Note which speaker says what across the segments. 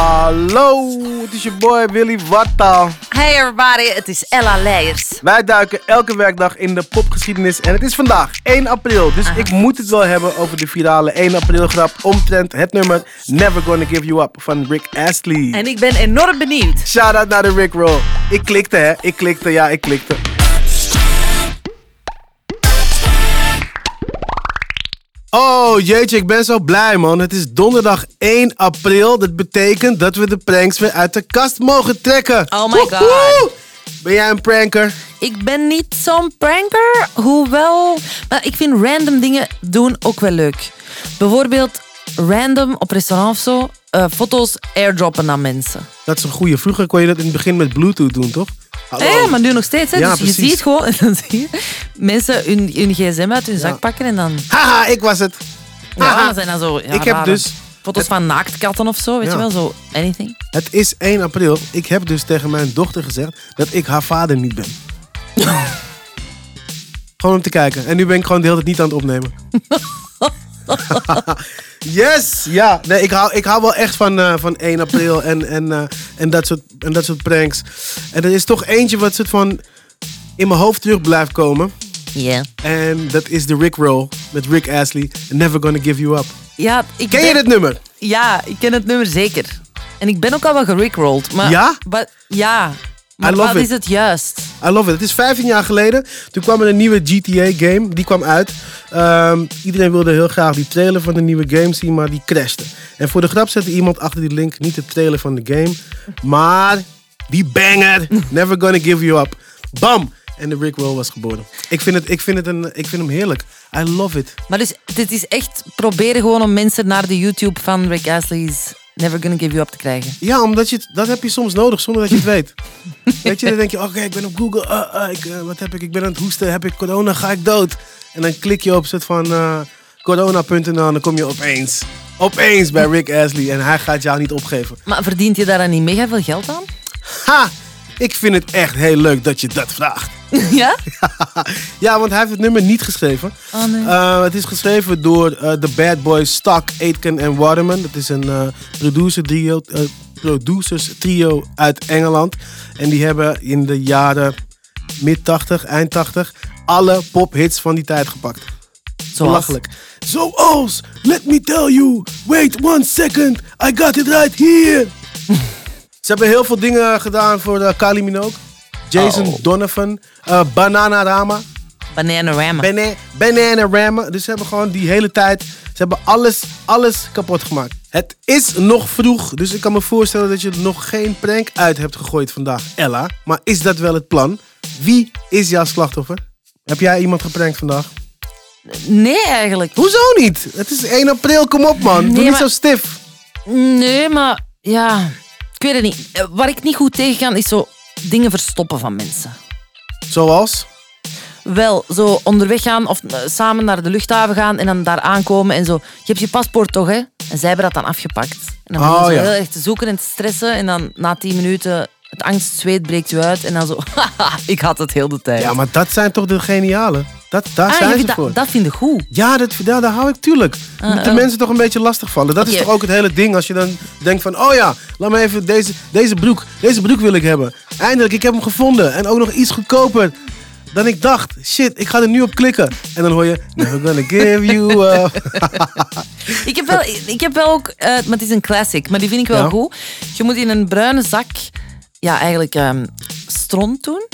Speaker 1: Hallo, het is je boy Willy Wartaal.
Speaker 2: Hey everybody, het is Ella Leijers.
Speaker 1: Wij duiken elke werkdag in de popgeschiedenis en het is vandaag 1 april. Dus ik moet het wel hebben over de virale 1 april grap omtrent het nummer Never Gonna Give You Up van Rick Astley.
Speaker 2: En ik ben enorm benieuwd.
Speaker 1: Shout out naar de Rick Roll. Ik klikte hè, ik klikte, ja ik klikte. Oh jeetje, ik ben zo blij man. Het is donderdag 1 april. Dat betekent dat we de pranks weer uit de kast mogen trekken.
Speaker 2: Oh my
Speaker 1: Woehoe!
Speaker 2: God.
Speaker 1: Ben jij een pranker?
Speaker 2: Ik ben niet zo'n pranker, hoewel... Maar ik vind random dingen doen ook wel leuk. Bijvoorbeeld random op restaurant of zo, eh, foto's airdroppen aan mensen.
Speaker 1: Dat is een goeie. Vroeger kon je dat in het begin met Bluetooth doen, toch? Hallo.
Speaker 2: Ja, ja, Eh, maar nu nog steeds. Hè?
Speaker 1: Ja,
Speaker 2: dus
Speaker 1: precies.
Speaker 2: je ziet gewoon, en dan zie je mensen hun, hun gsm uit hun zak pakken en dan...
Speaker 1: Haha, ik was het.
Speaker 2: Ja,
Speaker 1: Haha.
Speaker 2: dat zijn dan zo ja,
Speaker 1: Ik heb
Speaker 2: rare
Speaker 1: dus-
Speaker 2: Foto's van naaktkatten of zo, weet
Speaker 1: Ja.
Speaker 2: je wel, zo anything.
Speaker 1: Het is 1 april. Ik heb dus tegen mijn dochter gezegd dat ik haar vader niet ben. gewoon om te kijken. En nu ben ik gewoon de hele tijd niet aan het opnemen. yes! Ja, nee, ik hou, ik hou wel echt van, eh, van 1 april en, en, eh, en, dat soort, en dat soort pranks. En er is toch eentje wat soort van in mijn hoofd terug blijft komen.
Speaker 2: Ja.
Speaker 1: En dat is de Rick Roll met Rick Astley. Never gonna give you up.
Speaker 2: Ja, ik
Speaker 1: Ken je
Speaker 2: ben-
Speaker 1: dit nummer?
Speaker 2: Ja, ik ken het nummer zeker. En ik ben ook al wel gerickrolled. Maar,
Speaker 1: Ja?
Speaker 2: Wat, ja. Maar
Speaker 1: I love
Speaker 2: wat
Speaker 1: it.
Speaker 2: is het juist?
Speaker 1: I love it. Het is 15 jaar geleden. Toen kwam er een nieuwe GTA-game. Die kwam uit. Ehm, iedereen wilde heel graag die trailer van de nieuwe game zien, maar die crashte. En voor de grap zette iemand achter die link niet de trailer van de game, maar die banger. Never gonna give you up. Bam! En de Rickroll was geboren. Ik vind, het, ik, vind het een, ik vind hem heerlijk. I love it.
Speaker 2: Maar dus, dit is echt proberen gewoon om mensen naar de YouTube van Rick Astley's Never Gonna Give You Up te krijgen.
Speaker 1: Ja, omdat je, het- dat heb je soms nodig zonder dat je het weet. Weet je, dan denk je, oké, ik ben op Google, eh, eh, ik, eh, wat heb ik, ik ben aan het hoesten, heb ik corona, ga ik dood? En dan klik je op soort van eh, corona.nl en dan kom je opeens, opeens bij Rick Astley en hij gaat jou niet opgeven.
Speaker 2: Maar verdient je daar dan niet mega veel geld aan?
Speaker 1: Ha, ik vind het echt heel leuk dat je dat vraagt.
Speaker 2: ja?
Speaker 1: ja, want hij heeft het nummer niet geschreven.
Speaker 2: Oh, nee.
Speaker 1: Eh, het is geschreven door eh, de bad boys Stock, Aitken en Waterman. Dat is een eh, producer trio, eh, producers trio uit Engeland. En die hebben in de jaren mid-80, eind 80... alle pophits van die tijd gepakt.
Speaker 2: Zoals?
Speaker 1: Belachelijk. Zoals, let me tell you, wait one second, I got it right here. Ze hebben heel veel dingen gedaan voor eh, Kylie Minogue. Jason
Speaker 2: Oh.
Speaker 1: Donovan, eh, Bananarama,
Speaker 2: Bananarama.
Speaker 1: Bana- Bananarama. Dus ze hebben gewoon die hele tijd, ze hebben alles, alles kapot gemaakt. Het is nog vroeg, dus ik kan me voorstellen dat je nog geen prank uit hebt gegooid vandaag, Ella. Maar is dat wel het plan? Wie is jouw slachtoffer? Heb jij iemand geprankt vandaag?
Speaker 2: Nee, eigenlijk.
Speaker 1: Hoezo niet? Het is 1 april, kom op man. Doe
Speaker 2: Nee,
Speaker 1: niet
Speaker 2: maar-
Speaker 1: zo stif.
Speaker 2: Nee, maar ja... Ik weet het niet. Eh, Waar ik niet goed tegen kan, is zo dingen verstoppen van mensen.
Speaker 1: Zoals?
Speaker 2: wel zo onderweg gaan of eh, samen naar de luchthaven gaan en dan daar aankomen en zo. Je hebt je paspoort toch, hè? En zij hebben dat dan afgepakt. En dan
Speaker 1: Oh,
Speaker 2: beginnen ze
Speaker 1: ja.
Speaker 2: heel erg te zoeken en te stressen. En dan na tien minuten, het angstzweet breekt je uit. En dan zo, haha, ik had het heel de tijd.
Speaker 1: Ja, maar dat zijn toch de geniale? Dat, daar
Speaker 2: Ah, je
Speaker 1: zijn
Speaker 2: vindt
Speaker 1: ze
Speaker 2: dat,
Speaker 1: voor.
Speaker 2: dat vind ik goed.
Speaker 1: Ja, dat, ja, daar hou ik tuurlijk. Je moet de
Speaker 2: oh.
Speaker 1: mensen toch een beetje lastig vallen. Dat is
Speaker 2: Oké.
Speaker 1: toch ook het hele ding als je dan denkt van... Oh ja, laat me even deze, deze broek. Deze broek wil ik hebben. Eindelijk, ik heb hem gevonden. En ook nog iets goedkoper dan ik dacht. Shit, ik ga er nu op klikken. En dan hoor je... Never gonna give you up.
Speaker 2: Ik heb wel, ik heb wel ook, eh, maar het is een classic, maar die vind ik wel
Speaker 1: Ja.
Speaker 2: goed. Je moet in een bruine zak, ja, eigenlijk ehm stront doen.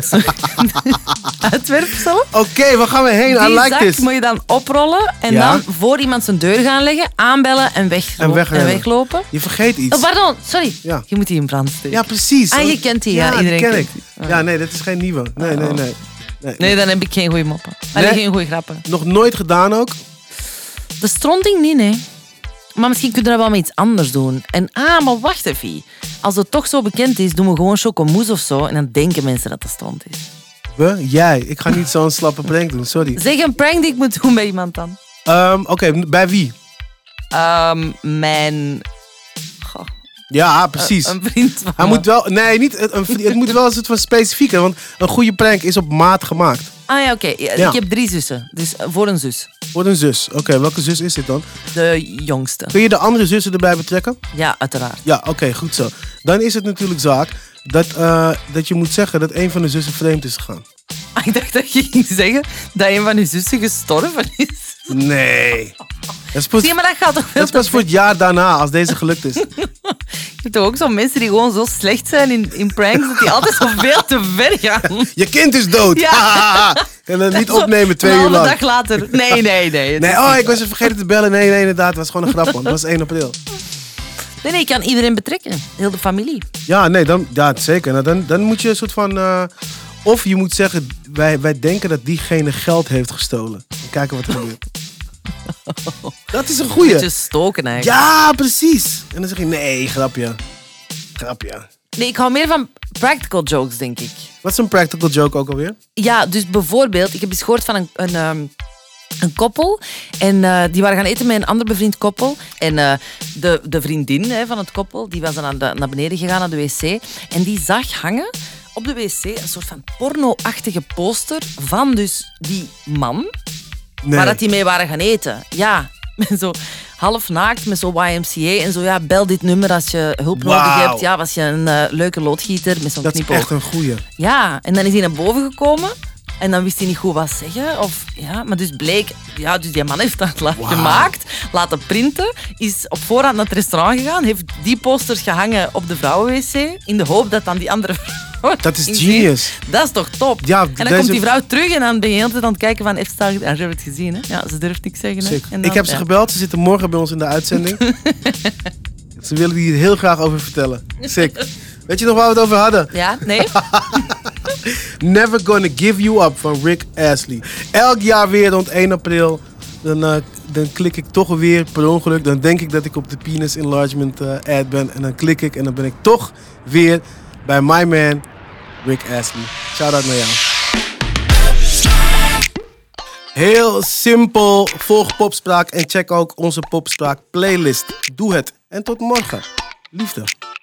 Speaker 2: Uitwerpsel.
Speaker 1: Oké, waar gaan we heen? I
Speaker 2: Die
Speaker 1: like
Speaker 2: zak
Speaker 1: this.
Speaker 2: moet je dan oprollen en
Speaker 1: Ja.
Speaker 2: dan voor iemand zijn deur gaan leggen, aanbellen en, weg,
Speaker 1: En wegrennen.
Speaker 2: weglopen.
Speaker 1: Je vergeet iets.
Speaker 2: Oh, pardon, sorry.
Speaker 1: Ja.
Speaker 2: Je moet die in brand steken.
Speaker 1: Ja, precies.
Speaker 2: Ah, je kent die, Oh. ja,
Speaker 1: die
Speaker 2: iedereen
Speaker 1: ken
Speaker 2: kent
Speaker 1: ik. Ja, nee, dat is geen nieuwe. Nee, nee, nee. nee.
Speaker 2: Nee, dan heb ik geen goede moppen. Alleen
Speaker 1: Nee?
Speaker 2: geen goede grappen.
Speaker 1: Nog nooit gedaan ook.
Speaker 2: De stronting niet, nee. Maar misschien kunnen we dat wel met iets anders doen. En ah, maar wacht even. Als het toch zo bekend is, doen we gewoon chocomousse of zo. En dan denken mensen dat dat stront is.
Speaker 1: We, jij. Ik ga niet zo'n slappe prank doen, sorry.
Speaker 2: Zeg een prank die ik moet doen bij iemand dan.
Speaker 1: Ehm, Oké, bij wie?
Speaker 2: Ehm, mijn... Goh,
Speaker 1: Ja, precies.
Speaker 2: Eh, een vriend van
Speaker 1: Hij
Speaker 2: me.
Speaker 1: moet wel, nee, niet, het, een, vri- het moet wel een soort van specifiek, hè, want een goede prank is op maat gemaakt.
Speaker 2: Ah ja, oké. Ja,
Speaker 1: Ja.
Speaker 2: Ik heb drie zussen. Dus eh, voor een zus.
Speaker 1: Wordt een zus. Oké, welke zus is dit dan?
Speaker 2: De jongste.
Speaker 1: Kun je de andere zussen erbij betrekken?
Speaker 2: Ja, uiteraard.
Speaker 1: Ja, oké, goed zo. Dan is het natuurlijk zaak dat, eh, dat je moet zeggen dat een van de zussen vreemd is gegaan.
Speaker 2: Ah, Ik dacht dat je ging zeggen dat een van je zussen gestorven is.
Speaker 1: Nee. Dat is pas,
Speaker 2: Zie je, maar dat gaat toch
Speaker 1: dat
Speaker 2: wel...
Speaker 1: is pas voor het jaar daarna, als deze gelukt is.
Speaker 2: Je hebt toch ook zo'n mensen die gewoon zo slecht zijn in, in pranks, dat die altijd zo veel te ver gaan.
Speaker 1: Je kind is dood.
Speaker 2: Ja.
Speaker 1: en dan niet
Speaker 2: Zo
Speaker 1: opnemen twee
Speaker 2: een
Speaker 1: uur
Speaker 2: halve
Speaker 1: lang.
Speaker 2: dag later. Nee, nee, nee. Het
Speaker 1: Nee,
Speaker 2: is
Speaker 1: oh,
Speaker 2: niet
Speaker 1: ik was je vergeten te bellen. Nee, nee, inderdaad. Het was gewoon een grap, man. Het was 1 april.
Speaker 2: waar. Nee, nee, ik kan iedereen betrekken. Heel de familie.
Speaker 1: Ja, nee, dan, ja, zeker. Nou, dan, dan moet je een soort van... eh, of je moet zeggen, wij, wij denken dat diegene geld heeft gestolen. En kijken wat er gebeurt. Dat is een
Speaker 2: Beetje
Speaker 1: goeie.
Speaker 2: stoken eigenlijk.
Speaker 1: Ja, precies. En dan zeg je, nee, grapje. Grapje.
Speaker 2: Nee, ik hou meer van practical jokes, denk ik.
Speaker 1: Wat is een practical joke ook alweer?
Speaker 2: Ja, dus bijvoorbeeld, ik heb eens gehoord van een, een, ehm, een koppel. En eh, die waren gaan eten met een ander bevriend koppel. En eh, de, de vriendin hè, van het koppel, die was dan naar, de- naar beneden gegaan naar de wc. En die zag hangen op de wc een soort van porno-achtige poster van dus die man.
Speaker 1: Nee.
Speaker 2: Waar dat die mee waren gaan eten. Ja, met zo half naakt met zo YMCA en zo. Ja, bel dit nummer als je hulp nodig
Speaker 1: Wauw.
Speaker 2: hebt. Ja, was je een eh, leuke loodgieter met zo'n
Speaker 1: dat is
Speaker 2: knipoog.
Speaker 1: echt een goeie.
Speaker 2: Ja, en dan is hij naar boven gekomen. En dan wist hij niet goed wat zeggen. Of, ja, maar dus bleek, ja, dus die man heeft dat la- gemaakt, laten printen. Is op voorhand naar het restaurant gegaan. Heeft die posters gehangen op de vrouwenwc. In de hoop dat dan die andere vrouw. het
Speaker 1: Dat is
Speaker 2: inzien.
Speaker 1: genius.
Speaker 2: Dat is toch top?
Speaker 1: Ja,
Speaker 2: en dan
Speaker 1: deze-
Speaker 2: komt die vrouw terug en dan ben je heel de tijd aan het kijken van... Heeft ze het al- ja, ze hebben het gezien, hè? Ja, ze durft niks zeggen, hè?
Speaker 1: Sick.
Speaker 2: En dan-
Speaker 1: ik heb ze
Speaker 2: ja.
Speaker 1: gebeld. Ze zitten morgen bij ons in de uitzending. ze willen hier heel graag over vertellen. Sick. Weet je nog waar we het over hadden?
Speaker 2: Ja, nee?
Speaker 1: Never Gonna Give You Up van Rick Astley. Elk jaar weer rond 1 april. Dan, eh, dan klik ik toch weer per ongeluk. Dan denk ik dat ik op de penis enlargement eh, ad ben. En dan klik ik en dan ben ik toch weer bij my man Rick Astley. Shout out naar jou. Heel simpel. Volg Popspraak en check ook onze Popspraak playlist. Doe het. En tot morgen. Liefde.